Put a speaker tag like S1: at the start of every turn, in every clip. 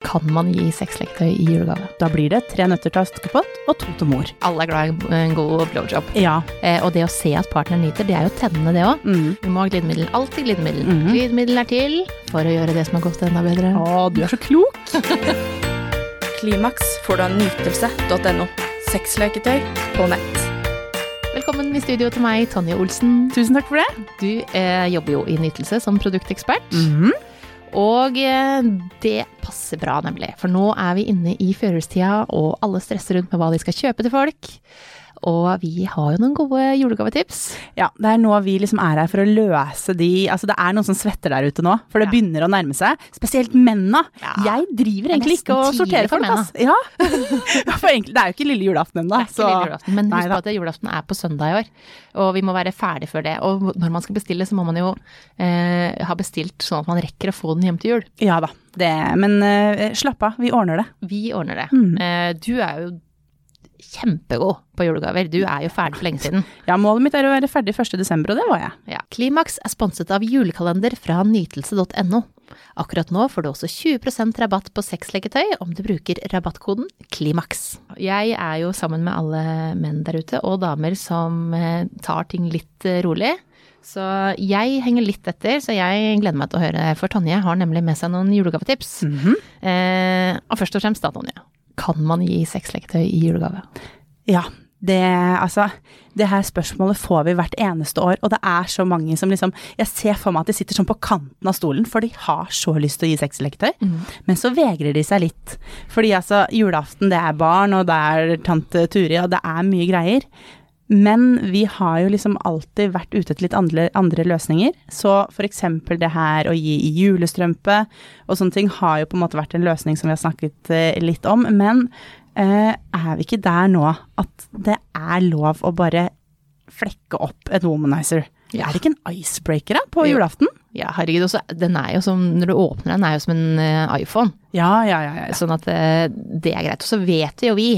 S1: kan man gi sexleketøy i julegave.
S2: Da blir det tre nøtter til askepott og to til mor.
S1: Alle er glad i en god blowjob.
S2: Ja.
S1: Eh, og det å se at partneren nyter, det er jo tennende, det òg.
S2: Mm.
S1: Du må ha glidemiddel. Alltid glidemiddel.
S2: Mhm.
S1: Glidemiddel er til for å gjøre det som har gått enda bedre.
S2: Å, du er så klok.
S3: Klimaks får du av nytelse.no. Sexleketøy på nett.
S1: Velkommen i studio til meg, Tonje Olsen.
S2: Tusen takk for det.
S1: Du eh, jobber jo i Nytelse som produktekspert.
S2: Mm. Mm-hmm.
S1: Og eh, det passer bra, nemlig. For nå er vi inne i førjulstida, og alle stresser rundt med hva de skal kjøpe til folk. Og vi har jo noen gode julegavetips.
S2: Ja, det er nå vi liksom er her for å løse de Altså, det er noen som svetter der ute nå, for det
S1: Ja.
S2: begynner å nærme seg. Spesielt mennene.
S1: Ja.
S2: Jeg driver
S1: er
S2: egentlig
S1: nesten
S2: ikke og sorterer
S1: tidlig for
S2: folk, ass. Ja. ja, for egentlig, det er jo ikke lille julaften ennå,
S1: Det er ikke lille julaften, men
S2: Nei
S1: husk på
S2: da.
S1: at julaften er på søndag i år, og vi må være ferdig før det. Og når man skal bestille, så må man jo eh, ha bestilt sånn at man rekker å få den hjem til jul.
S2: Ja da. Det, men eh, slapp av, vi ordner det.
S1: Vi ordner det.
S2: Mm.
S1: Eh, du er jo kjempegod på julegaver. Du er jo ferdig for lenge siden.
S2: Ja, målet mitt er å være ferdig 1. desember, og det var jeg.
S1: Ja. Klimaks er sponset av julekalender fra nytelse.no. Akkurat nå får du også 20 rabatt på sexleketøy om du bruker rabattkoden KLIMAKS. Jeg er jo sammen med alle menn der ute, og damer som eh, tar ting litt eh, rolig. Så jeg henger litt etter, så jeg gleder meg til å høre. For Tonje har nemlig med seg noen julegavetips. eh, og først og fremst da, Tonje. Kan man gi sexleketøy i julegave?
S2: Ja, det, altså, det her spørsmålet får vi hvert eneste år, og det er så mange som liksom Jeg ser for meg at de sitter sånn på kanten av stolen, for de har så lyst til å gi sexleketøy, men så vegrer de seg litt. Fordi altså, julaften, det er barn, og det er tante Turi, og det er mye greier. Men vi har jo liksom alltid vært ute etter litt andre, andre løsninger. Så for eksempel det her å gi i julestrømpe og sånne ting har jo på en måte vært en løsning som vi har snakket eh, litt om. Men eh, er vi ikke der nå at det er lov å bare flekke opp en womanizer?
S1: Ja.
S2: Er det ikke en icebreaker da, på
S1: Jo.
S2: julaften?
S1: Ja, herregud, også, den er jo som, når du åpner den, er jo som en eh, iPhone.
S2: Ja, ja, ja. ja.
S1: Sånn at eh, det er greit. Og så vet jo vi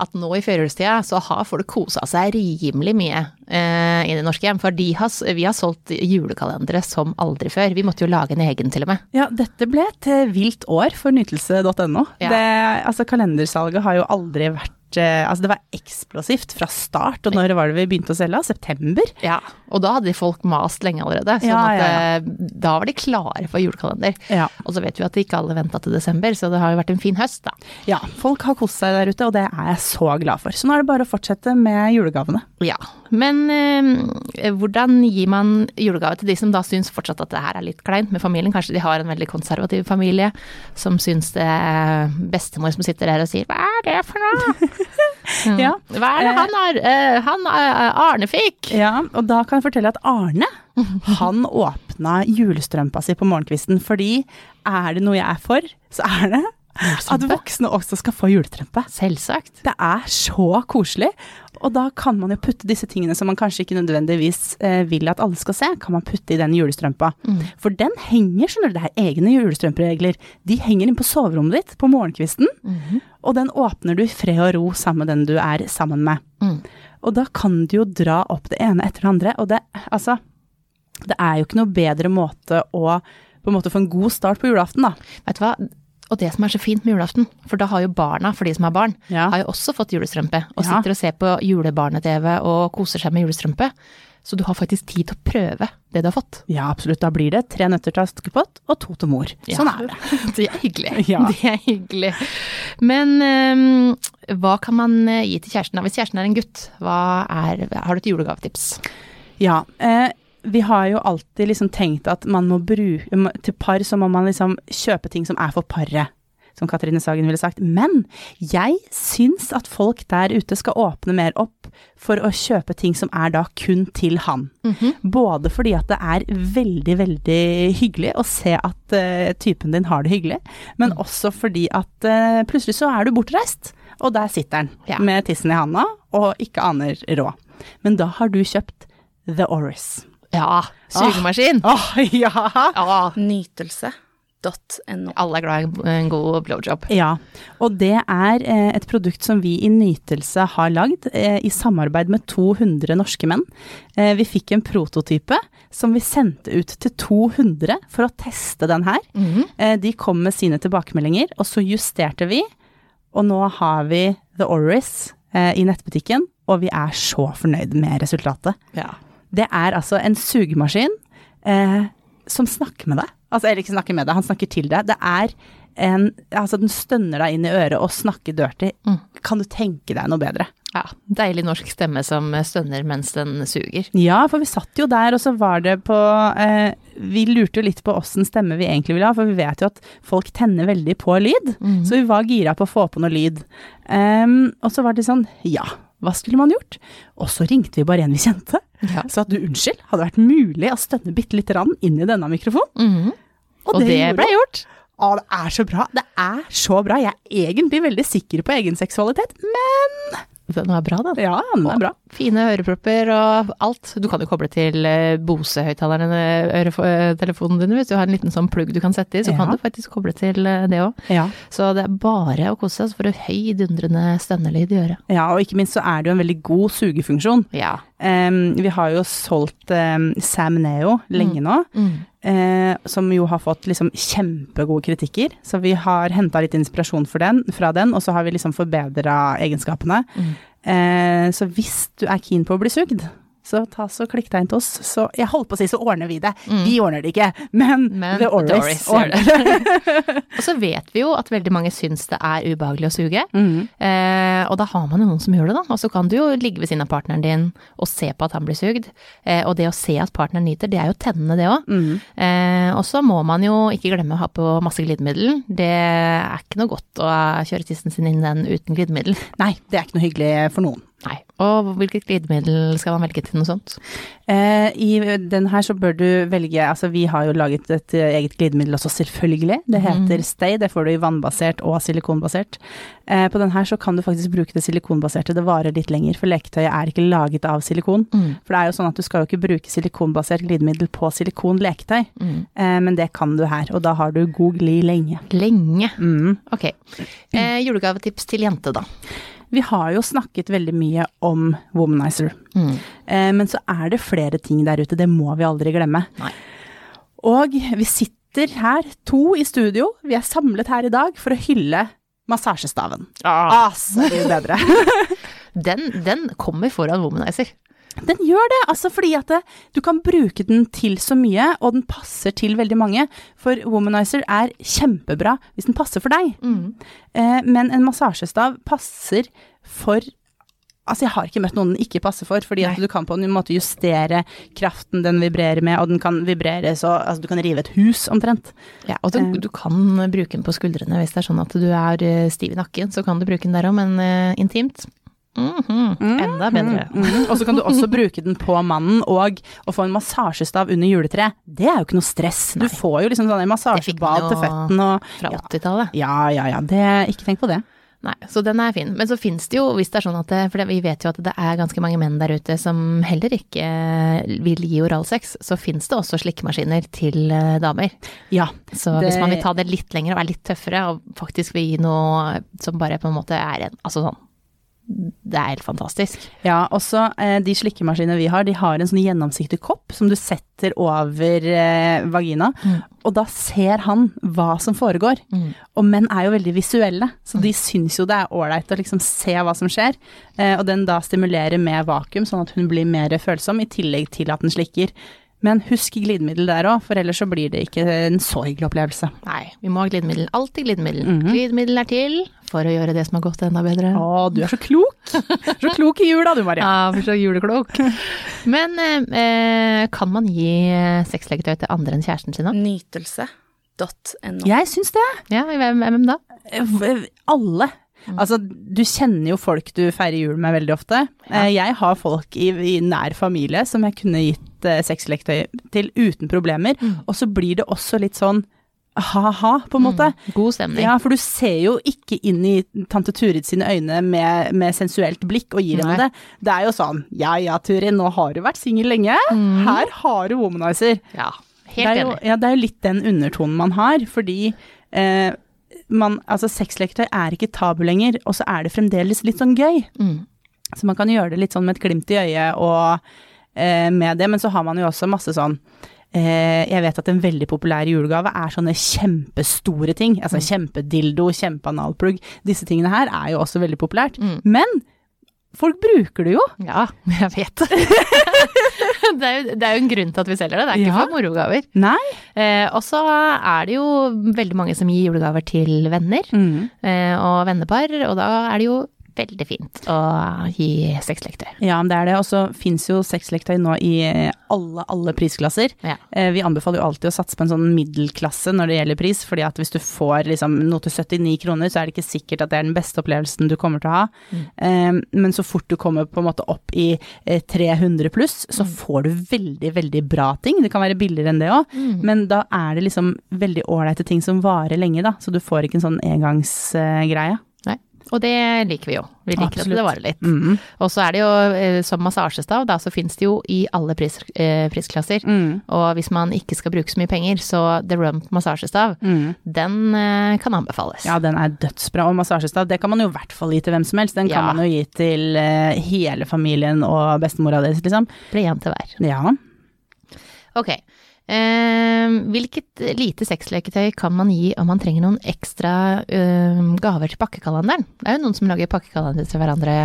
S1: at nå i førjulstida så har folk kosa seg rimelig mye eh, i det norske hjem. For de har, s- vi har solgt julekalendere som aldri før. Vi måtte jo lage en egen til og med.
S2: Ja, dette ble et eh, vilt år for nytelse.no.
S1: Ja.
S2: Det- Altså, kalendersalget har jo aldri vært eh, Altså, det var eksplosivt fra start, og når var det vi begynte å selge? da? September?
S1: Ja. Og da hadde folk mast lenge allerede. Sånn
S2: Ja,
S1: at
S2: ja,
S1: eh, da var de klare for julekalender.
S2: Ja.
S1: Og så vet vi at ikke alle venta til desember, så det har jo vært en fin høst, da.
S2: ja. Folk har kost seg der ute, og det er jeg så glad for. Så nå er det bare å fortsette med julegavene.
S1: Ja, men eh, hvordan gir man julegave til de som da syns fortsatt at det her er litt kleint med familien? Kanskje de har en veldig konservativ familie som syns det er bestemor som sitter der og sier 'hva er det for noe'?
S2: Ja.
S1: Hva er det han, har, eh, han eh, Arne fikk?
S2: Ja, og da kan jeg fortelle at Arne, han åpna julestrømpa si på morgenkvisten, fordi er det noe jeg er for, så er det at voksne også skal få julestrømpe.
S1: Selvsagt.
S2: Det er så koselig, og da kan man jo putte disse tingene som man kanskje ikke nødvendigvis eh, vil at alle skal se, kan man putte i den julestrømpa. For den henger, skjønner du, det er egne julestrømperegler. De henger inn på soverommet ditt på morgenkvisten,
S1: Mm-hmm.
S2: og den åpner du i fred og ro sammen med den du er sammen med.
S1: Mm.
S2: Og da kan du jo dra opp det ene etter det andre, og det, altså, det er jo ikke noe bedre måte å på en måte få en god start på julaften, da.
S1: Vet du hva? Og det som er så fint med julaften, for da har jo barna, for de som har barn,
S2: Ja.
S1: har jo også fått julestrømpe, og
S2: Ja.
S1: sitter og ser på julebarne-TV og koser seg med julestrømpe. Så du har faktisk tid til å prøve det du har fått.
S2: Ja, absolutt. Da blir det tre nøtter til Askepott og to til mor.
S1: Ja.
S2: Sånn er det.
S1: Det er hyggelig.
S2: Ja.
S1: Det er hyggelig. Men ehm, hva kan man eh, gi til kjæresten? da? Hvis kjæresten er en gutt, hva er, har du et julegavetips?
S2: Ja. Eh, vi har jo alltid liksom tenkt at man må bruke Til par så må man liksom kjøpe ting som er for paret. Som Katrine Sagen ville sagt. Men jeg syns at folk der ute skal åpne mer opp for å kjøpe ting som er da kun til han. Både fordi at det er veldig, veldig hyggelig å se at eh, typen din har det hyggelig, men også fordi at eh, plutselig så er du bortreist, og der sitter han
S1: Ja.
S2: med tissen i handa og ikke aner råd. Men da har du kjøpt The Oris. Ah.
S1: Ja, sugemaskin.
S2: Åh, ja!
S1: Ja,
S3: Nytelse.no. .no.
S1: Alle er glad i en god blowjob.
S2: Ja, og det er eh, et produkt som vi i Nytelse har lagd eh, i samarbeid med 200 norske menn. Eh, Vi fikk en prototype som vi sendte ut til 200 for å teste den her. Eh, De kom med sine tilbakemeldinger, og så justerte vi. Og nå har vi The Oris eh, i nettbutikken, og vi er så fornøyd med resultatet. Det er altså en sugemaskin eh, som snakker med deg. Altså, eller ikke snakker med deg, han snakker til deg. Det er en, altså den stønner deg inn i øret og snakker dirty. Kan du tenke deg noe bedre?
S1: Ja, Deilig norsk stemme som stønner mens den suger.
S2: Ja, for vi satt jo der, og så var det på eh, Vi lurte jo litt på åssen stemme vi egentlig ville ha, for vi vet jo at folk tenner veldig på lyd.
S1: Mhm.
S2: Så vi var gira på å få på noe lyd. Ehm, og så var det sånn, ja, hva skulle man gjort? Og så ringte vi bare en vi kjente.
S1: Ja.
S2: Så at du, unnskyld, hadde det vært mulig å stønne bitte lite grann inn i denne mikrofonen?
S1: Og det
S2: gjorde
S1: ble
S2: han.
S1: gjort.
S2: Å, det er så bra. Det er så bra. Jeg er egentlig veldig sikker på egen seksualitet, men
S1: Den var bra, den.
S2: Ja, den er bra.
S1: Fine ørepropper og alt. Du kan jo koble til eh, Bose-høyttalerne, telefonen din, hvis du har en liten sånn plugg du kan sette i, så
S2: Ja.
S1: kan du faktisk koble til eh, det òg.
S2: Ja.
S1: Så det er bare å kose seg, så får du høy dundrende stønnelyd i øret.
S2: ja, og ikke minst så er det jo en veldig god sugefunksjon.
S1: Ja.
S2: Em, vi har jo solgt em, Sam Neo lenge
S1: Mm.
S2: nå, eh, som jo har fått liksom kjempegode kritikker. Så vi har henta litt inspirasjon for den, fra den, og så har vi liksom forbedra egenskapene.
S1: Mm.
S2: Eh, så hvis du er keen på å bli sugd, så ta så klikk deg inn til oss. Så jeg holdt på å si så ordner vi det. Vi ordner det ikke, men,
S1: Mm. Men
S2: The Oris,
S1: Doris gjør
S2: ordner
S1: det. og så vet vi jo at veldig mange syns det er ubehagelig å suge.
S2: Mm,
S1: Eh, og da har man jo noen som gjør det, da. Og så kan du jo ligge ved siden av partneren din og se på at han blir sugd. Eh, og det å se at partneren nyter, det er jo tennende, det òg.
S2: mm.
S1: Eh, og så må man jo ikke glemme å ha på masse glidemiddel. Det er ikke noe godt å kjøre tissen sin inn den uten glidemiddel.
S2: Nei, det er ikke noe hyggelig for noen.
S1: Nei. Og hvilket glidemiddel skal man velge til noe sånt?
S2: Eh, I den her så bør du velge Altså, vi har jo laget et eh, eget glidemiddel også, selvfølgelig. Det heter Stay. Det får du i vannbasert og silikonbasert. Eh, på den her så kan du faktisk bruke det silikonbaserte. Det varer litt lenger, for leketøyet er ikke laget av silikon.
S1: Mm,
S2: For det er jo sånn at du skal jo ikke bruke silikonbasert glidemiddel på silikonleketøy,
S1: mm.
S2: eh, men det kan du her. Og da har du god glid lenge.
S1: Lenge. Ok. Eh, julegavetips til jente, da.
S2: Vi har jo snakket veldig mye om womanizer.
S1: Mm.
S2: Eh, men så er det flere ting der ute, det må vi aldri glemme.
S1: Nei.
S2: Og vi sitter her, to i studio, vi er samlet her i dag for å hylle massasjestaven. Altså, det er bedre.
S1: Ah. Den, den kommer foran Womanizer.
S2: Den gjør det, altså fordi at det, du kan bruke den til så mye, og den passer til veldig mange. For Womanizer er kjempebra hvis den passer for deg.
S1: Mm.
S2: Eh, men en massasjestav passer for Altså, jeg har ikke møtt noen den ikke passer for, fordi at
S1: Nei.
S2: du kan på en måte justere kraften den vibrerer med, og den kan vibrere så Altså, du kan rive et hus, omtrent.
S1: Ja, og du,
S2: Eh.
S1: du kan bruke den på skuldrene hvis det er sånn at du er eh, stiv i nakken, så kan du bruke den der òg, men eh, intimt mhm, Enda bedre.
S2: Mm. Og så kan du også bruke den på mannen, og å få en massasjestav under juletreet, det er jo ikke noe stress. Du får jo liksom sånne
S1: Det fikk den
S2: massasjebad
S1: jo
S2: til føttene og
S1: Fra
S2: ja.
S1: 80-tallet.
S2: ja, ja, ja, det, ikke tenk på det.
S1: Nei, så den er fin. Men så fins det jo, hvis det er sånn at det, For det- vi vet jo at det er ganske mange menn der ute som heller ikke eh, vil gi oralsex, så fins det også slikkemaskiner til eh, damer.
S2: Ja,
S1: Så
S2: Det-
S1: hvis man vil ta det litt lenger og er litt tøffere, og faktisk vil gi noe som bare på en måte er en Altså sånn Det er helt fantastisk.
S2: ja også eh, de slikkemaskinene vi har, de har en sånn gjennomsiktig kopp som du setter over eh, vagina, og da ser han hva som foregår. Og menn er jo veldig visuelle, så de syns jo det er ålreit å liksom se hva som skjer. Eh, og den da stimulerer med vakuum, sånn at hun blir mer følsom, i tillegg til at den slikker. Men husk glidemiddel der òg, for ellers så blir det ikke en så hyggelig opplevelse.
S1: Nei, vi må ha glidemiddel. Alltid glidemiddel. Glidemiddel er til for å gjøre det som har gått enda bedre.
S2: Mhm. Å, du er så klok! Så klok i jula du, Maria.
S1: Ja, for så juleklok. Men eh, eh, kan man gi eh, sexleketøy til andre enn kjæresten
S2: Mm.
S1: sin da?
S3: Nytelse.no.
S2: Jeg syns det.
S1: Ja, hvem, hvem da?
S2: V- Alle. Altså, du kjenner jo folk du feirer jul med veldig ofte. Eh, Jeg har folk i, i nær familie som jeg kunne gitt eh, sexlektøy til uten problemer, og så blir det også litt sånn ha-ha, på en måte.
S1: God stemning.
S2: Ja, for du ser jo ikke inn i tante Turid sine øyne med, med sensuelt blikk og gir henne
S1: Nei.
S2: det. Det er jo sånn ja ja, Turid, nå har du vært singel lenge. Her har du womanizer.
S1: Ja,
S2: det
S1: Helt
S2: er jo,
S1: enig.
S2: ja, det er jo litt den undertonen man har, fordi eh, man, altså sexleketøy er ikke tabu lenger, og så er det fremdeles litt sånn gøy.
S1: Mm.
S2: Så man kan gjøre det litt sånn med et glimt i øyet og eh, med det, men så har man jo også masse sånn eh, jeg vet at en veldig populær julegave er sånne kjempestore ting. Altså
S1: Mm.
S2: kjempedildo, kjempeanalplugg. Disse tingene her er jo også veldig populært.
S1: Mm.
S2: Men folk bruker det jo.
S1: Ja, jeg vet det. er jo, det er jo en grunn til at vi selger det, det er ikke
S2: Ja.
S1: for morogaver.
S2: Nei.
S1: Eh, og så er det jo veldig mange som gir julegaver til venner
S2: Mm.
S1: eh, og vennepar, og da er det jo veldig fint å gi sexleketøy.
S2: Ja, men det er det. Og så fins jo sexleketøy nå i eh, alle, alle prisklasser.
S1: Ja.
S2: Eh, Vi anbefaler jo alltid å satse på en sånn middelklasse når det gjelder pris, fordi at hvis du får liksom noe til 79 kroner, så er det ikke sikkert at det er den beste opplevelsen du kommer til å ha. Eh, Men så fort du kommer på en måte opp i eh, 300 pluss, så får du veldig, veldig bra ting. Det kan være billigere enn det
S1: Mm.
S2: òg, men da er det liksom veldig ålreite ting som varer lenge, da. Så du får ikke en sånn engangsgreie.
S1: Nei. Og det liker vi jo. Vi liker
S2: Absolutt.
S1: at det varer litt. Og så er det jo, eh, som massasjestav, da, så fins det jo i alle pris, eh, prisklasser.
S2: Mm,
S1: Og hvis man ikke skal bruke så mye penger, så The Rump massasjestav,
S2: mm.
S1: den eh, kan anbefales.
S2: Ja, den er dødsbra. Og massasjestav, det kan man jo i hvert fall gi til hvem som helst. Den kan
S1: Ja.
S2: man jo gi til eh, hele familien og bestemora deres, liksom.
S1: Blir én til hver.
S2: Ja.
S1: Ok. Eh, hvilket lite sexleketøy kan man gi om man trenger noen ekstra eh, gaver til pakkekalenderen? Det er jo noen som lager pakkekalender til hverandre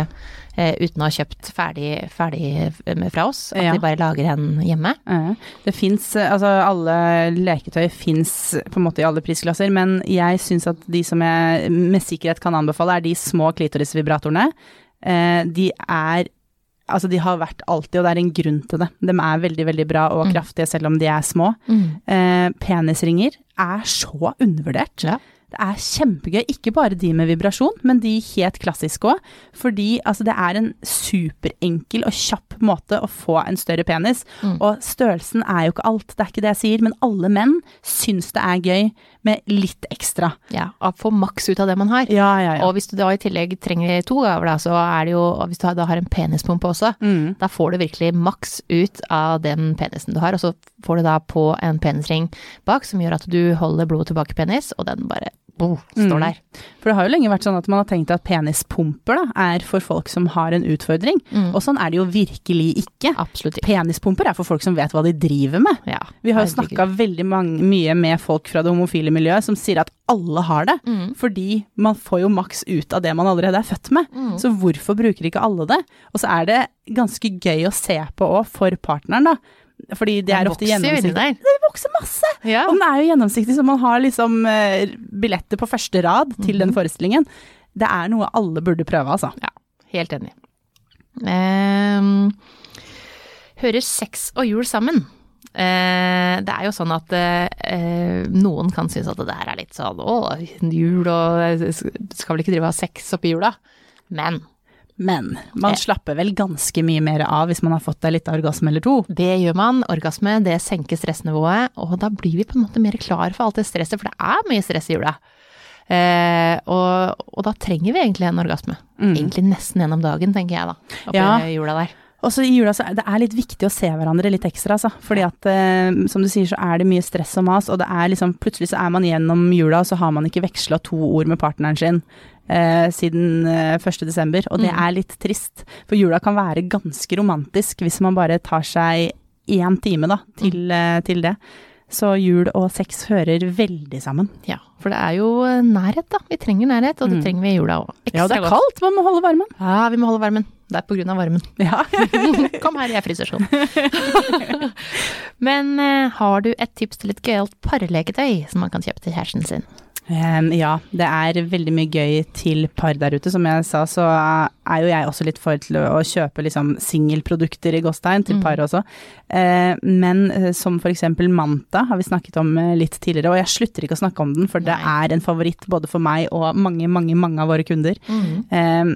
S1: eh, uten å ha kjøpt ferdig, ferdig med fra oss. At
S2: Ja.
S1: de bare lager en hjemme.
S2: eh, Det fins Altså, alle leketøy fins på en måte i alle prisklasser, men jeg syns at de som jeg med sikkerhet kan anbefale, er de små klitorisvibratorene. Eh, De er Altså, de har vært alltid, og det er en grunn til det. De er veldig, veldig bra og kraftige, selv om de er små. Eh, penisringer er så undervurdert.
S1: Ja.
S2: Det er kjempegøy, ikke bare de med vibrasjon, men de helt klassiske òg. Fordi altså, det er en superenkel og kjapp måte å få en større penis.
S1: Mm.
S2: Og størrelsen er jo ikke alt, det er ikke det jeg sier, men alle menn syns det er gøy med litt ekstra.
S1: Ja, og Få maks ut av det man har.
S2: Ja, ja, ja.
S1: Og hvis du da i tillegg trenger to gaver, da, så er det jo Og hvis du da har en penispumpe også,
S2: Mm.
S1: da får du virkelig maks ut av den penisen du har. Og så får du da på en penisring bak som gjør at du holder blodet tilbake i penis, og den bare boom,
S2: Mm.
S1: står der.
S2: For det har jo lenge vært sånn at man har tenkt at penispumper da, er for folk som har en utfordring. Og sånn er det jo virkelig ikke.
S1: Absolutt. ikke.
S2: Penispumper er for folk som vet hva de driver med.
S1: Ja,
S2: Vi har jo
S1: herregud.
S2: snakka veldig mange, mye med folk fra det homofile miljøet som sier at alle har det,
S1: Mm.
S2: fordi man får jo maks ut av det man allerede er født med.
S1: Mm.
S2: Så hvorfor bruker ikke alle det? Og så er det ganske gøy å se på òg, for partneren, da. Fordi det
S1: Den
S2: er ofte
S1: vokser jo inni
S2: gjennomsiktig.
S1: der.
S2: Det vokser masse!
S1: Ja.
S2: Og den er jo gjennomsiktig, så man har liksom eh, billetter på første rad til
S1: Mhm.
S2: den forestillingen. Det er noe alle burde prøve, altså.
S1: Ja, helt enig. Ehm, hører sex og jul sammen? Eh, det er jo sånn at eh, noen kan synes at det der er litt sånn å, jul og eh, skal vel ikke drive og ha sex oppi jula? Men
S2: Men man slapper vel ganske mye mer av hvis man har fått deg litt orgasme eller to.
S1: det gjør man. Orgasme, det senker stressnivået, og da blir vi på en måte mer klar for alt det stresset, for det er mye stress i jula. Eh, og, og da trenger vi egentlig en orgasme. Egentlig nesten gjennom dagen, tenker jeg da. Oppi
S2: Mm. Ja.
S1: jula der.
S2: Og så i jula så er det er litt viktig å se hverandre litt ekstra, altså. Fordi at eh, som du sier så er det mye stress og mas, og det er liksom plutselig så er man gjennom jula, og så har man ikke veksla to ord med partneren sin eh, siden eh, 1. desember, og det er litt trist. For jula kan være ganske romantisk hvis man bare tar seg én time da, til, eh, til det. Så jul og sex hører veldig sammen.
S1: Ja, for det er jo eh, nærhet, da. Vi trenger nærhet, og det trenger vi i jula òg.
S2: Mm. Ja, det er kaldt, man må holde varmen.
S1: Ja, vi må holde varmen. Det er på grunn av varmen.
S2: Ja.
S1: Kom her, jeg fryser sånn. Men eh, har du et tips til et gøyalt parleketøy som man kan kjøpe til kjæresten sin?
S2: Ehm, ja, det er veldig mye gøy til par der ute. Som jeg sa, så er jo jeg også litt for til å å kjøpe liksom singelprodukter i Gåstein til par også. Eh, men eh, som for eksempel Manta har vi snakket om eh, litt tidligere, og jeg slutter ikke å snakke om den, for det
S1: Nei.
S2: er en favoritt både for meg og mange, mange, mange av våre kunder.
S1: Mm.
S2: Ehm,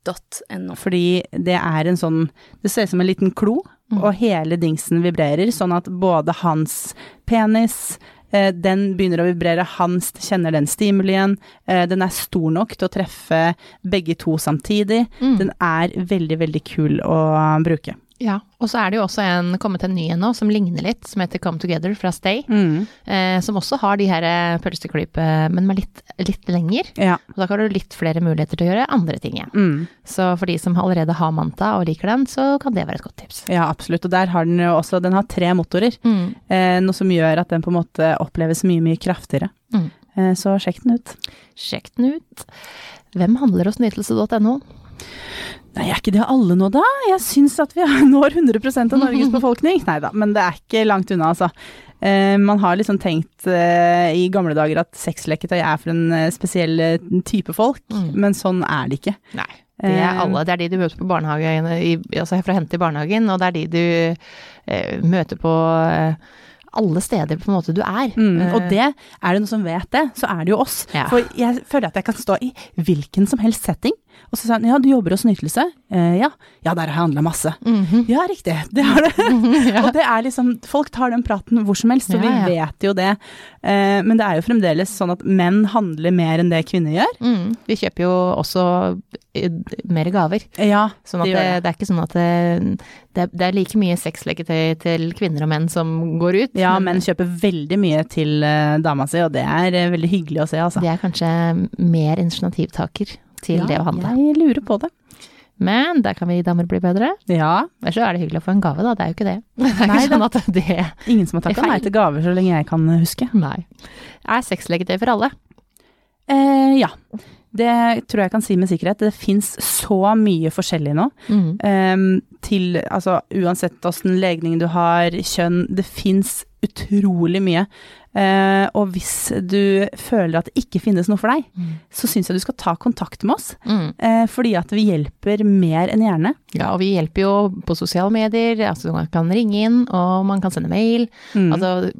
S3: Nytelse.no.
S2: fordi det er en sånn Det ser ut som en liten klo, og hele dingsen vibrerer, sånn at både hans penis eh, den begynner å vibrere, han st- kjenner den stimulien. eh, Den er stor nok til å
S1: Mm.
S2: treffe begge to samtidig. Den er veldig, veldig kul å bruke.
S1: Ja, og så er det jo også en, kommet en ny en nå som ligner litt, som heter Come Together fra Stay.
S2: Mm.
S1: Eh, som også har de her eh, pølseklype, men med litt, litt lenger.
S2: Ja.
S1: Og da har du litt flere muligheter til å gjøre andre ting. Ja.
S2: Mm.
S1: Så for de som allerede har Manta og liker den, så kan det være et godt tips.
S2: ja, absolutt. Og der har den jo også Den har tre motorer,
S1: Mm.
S2: eh, noe som gjør at den på en måte oppleves mye, mye kraftigere.
S1: Mm.
S2: Eh, så sjekk den ut.
S1: Sjekk den ut. Hvem handler hos nytelse.no?
S2: Nei, er ikke det alle nå, da? Jeg syns at vi når 100 av Norges befolkning. Nei da, men det er ikke langt unna, altså. Eh, man har liksom tenkt eh, i gamle dager at sexleketøy er for en eh, spesiell eh, type folk,
S1: Mm.
S2: men sånn er det ikke.
S1: Nei. Det er
S2: Eh,
S1: alle. Det er de du møter på barnehagen, i, altså herfra hente i barnehagen, og det er de du eh, møter på eh, alle steder på en måte du er.
S2: Mm, og
S1: Eh,
S2: det, er det noen som vet det, så er det jo oss.
S1: Ja.
S2: For jeg føler at jeg kan stå i hvilken som helst setting, og så sier han ja, du jobber hos Nytelse. Eh, ja. ja, der har jeg handla masse.
S1: mhm.
S2: Ja, riktig, det har det. Og det er liksom, folk tar den praten hvor som helst, og
S1: Ja, ja.
S2: vi vet jo det. Eh, men det er jo fremdeles sånn at menn handler mer enn det kvinner gjør.
S1: Mm. Vi kjøper jo også eh, mer gaver.
S2: Ja,
S1: Sånn at
S2: Det
S1: det,
S2: gjør
S1: det, er ikke sånn at det, det, er- det er like mye sexleketøy til kvinner og menn som går ut.
S2: ja
S1: men
S2: menn kjøper veldig mye til eh, dama si, og det er eh, veldig hyggelig å se, altså.
S1: de er kanskje mer initiativtaker til det å handle.
S2: jeg lurer på det.
S1: Men der kan vi damer bli bedre.
S2: Ja,
S1: Ellers så er det hyggelig å få en gave, da. Det er jo ikke det. Det er
S2: Nei
S1: ikke
S2: da.
S1: sånn at det
S2: ingen som har
S1: Det er
S2: takka nei
S1: feil.
S2: til gaver så lenge jeg kan huske.
S1: Nei. Er sexleketøy for alle?
S2: Eh, ja. Det tror jeg kan si med sikkerhet. Det fins så mye forskjellig nå.
S1: Mm.
S2: Ehm, til altså uansett åssen legning du har, kjønn Det fins utrolig mye. Eh, og hvis du føler at det ikke finnes noe for deg, så syns jeg du skal ta kontakt med oss.
S1: Mm.
S2: eh, fordi at vi hjelper mer enn gjerne.
S1: Ja, og vi hjelper jo på sosiale medier. Altså, man kan ringe inn, og man kan sende mail.
S2: Mm.
S1: Altså,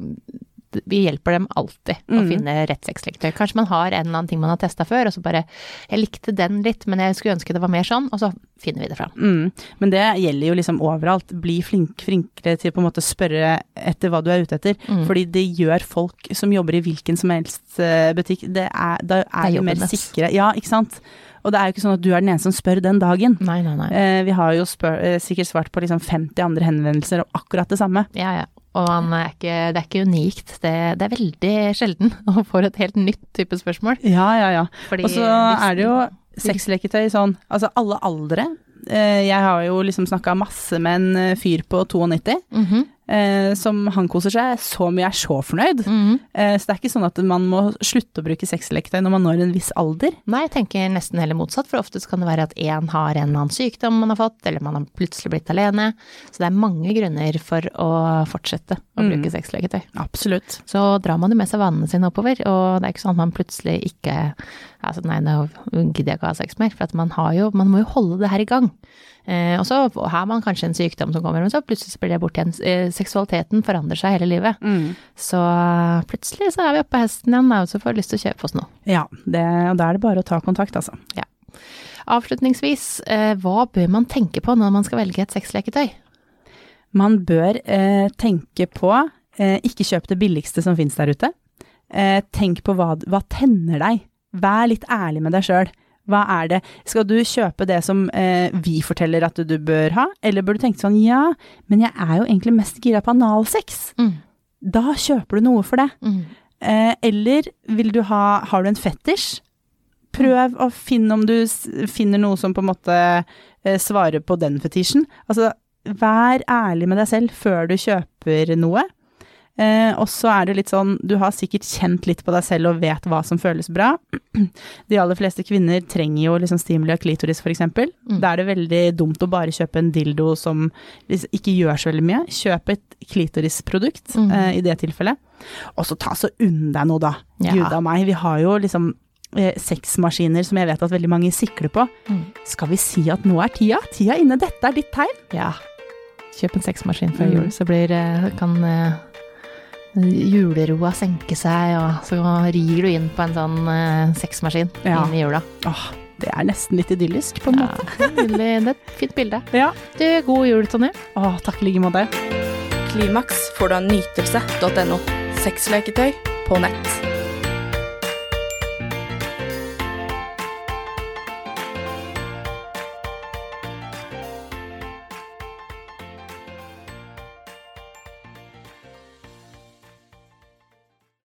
S1: d- vi hjelper dem alltid å
S2: Mm.
S1: finne rett sexleketøy. Kanskje man har en eller annen ting man har testa før, og så bare Jeg likte den litt, men jeg skulle ønske det var mer sånn, og så finner vi det fram.
S2: Mm. Men det gjelder jo liksom overalt. Bli flink, flinkere til på en måte å spørre etter hva du er ute etter.
S1: Mm.
S2: Fordi det gjør folk som jobber i hvilken som helst eh, butikk, det er, da er de
S1: jobben
S2: mer
S1: deres.
S2: sikre. Ja, ikke sant. Og det er jo ikke sånn at du er den eneste som spør den dagen.
S1: Nei, nei, nei.
S2: Eh, vi har jo spør, eh, sikkert svart på liksom 50 andre henvendelser om akkurat det samme.
S1: Ja, ja. Og han er ikke, det er ikke unikt. Det, det er veldig sjelden å få et helt nytt type spørsmål.
S2: Ja, ja, ja.
S1: Fordi
S2: Og så
S1: hvis-
S2: er det jo sexleketøy sånn, altså alle aldre. Eh, jeg har jo liksom snakka masse med en eh, fyr på 92
S1: Mhm,
S2: eh, som han koser seg så mye, er så fornøyd.
S1: mhm.
S2: Eh, så det er ikke sånn at man må slutte å bruke sexleketøy når man når en viss alder.
S1: Nei, jeg tenker nesten heller motsatt, for ofte så kan det være at én har en annen sykdom man har fått, eller man har plutselig blitt alene. Så det er mange grunner for å fortsette å
S2: Mm.
S1: bruke sexleketøy.
S2: Absolutt.
S1: Så drar man jo med seg vanene sine oppover, og det er ikke sånn at man plutselig ikke altså Nei, nå gidder jeg ikke å ha sex mer, for at man har jo Man må jo holde det her i gang. Eh, og så har man kanskje en sykdom som kommer, men så plutselig så blir det borte igjen. Eh, seksualiteten forandrer seg hele livet. Så plutselig så er vi oppe på hesten igjen, da, og så får vi lyst til å kjøpe oss noe.
S2: Ja, det, og da er det bare å ta kontakt, altså.
S1: Avslutningsvis, eh, hva bør man tenke på når man skal velge et sexleketøy?
S2: Man bør eh, tenke på eh, ikke kjøp det billigste som finnes der ute. Eh, tenk på hva, hva tenner deg. Vær litt ærlig med deg sjøl. Hva er det? Skal du kjøpe det som eh, vi forteller at du bør ha, eller bør du tenke sånn ja, men jeg er jo egentlig mest gira på analsex. Da kjøper du noe for det.
S1: Mm.
S2: Eh, eller vil du ha Har du en fetisj? Prøv å finne om du s- finner noe som på en måte eh, svarer på den fetisjen. Altså, vær ærlig med deg selv før du kjøper noe. Eh, og så er det litt sånn, du har sikkert kjent litt på deg selv og vet hva som føles bra. De aller fleste kvinner trenger jo liksom stimuli av klitoris, for eksempel.
S1: Mm.
S2: Da er det veldig dumt å bare kjøpe en dildo som liksom ikke gjør så veldig mye. Kjøp et klitorisprodukt
S1: Mhm.
S2: eh, i det tilfellet. Og så ta så unn deg noe, da.
S1: Ja.
S2: Gud a meg. Vi har jo liksom eh, sexmaskiner som jeg vet at veldig mange sikler på.
S1: Mm.
S2: Skal vi si at nå er tida? Tida er inne, dette er ditt tegn.
S1: Ja. Kjøp en sexmaskin før
S2: Mm.
S1: jul, så blir, eh, kan eh, juleroa senke seg, og så rir du inn på en sånn eh, sexmaskin
S2: Ja.
S1: inn i jula.
S2: Åh, det er nesten litt idyllisk, på en måte.
S1: Nydelig. Det er et fint bilde.
S2: Ja.
S1: Du, god jul, Tonje.
S2: Åh, takk i like måte.
S3: Klimaks får du av nytelse.no. Sexleketøy på nett.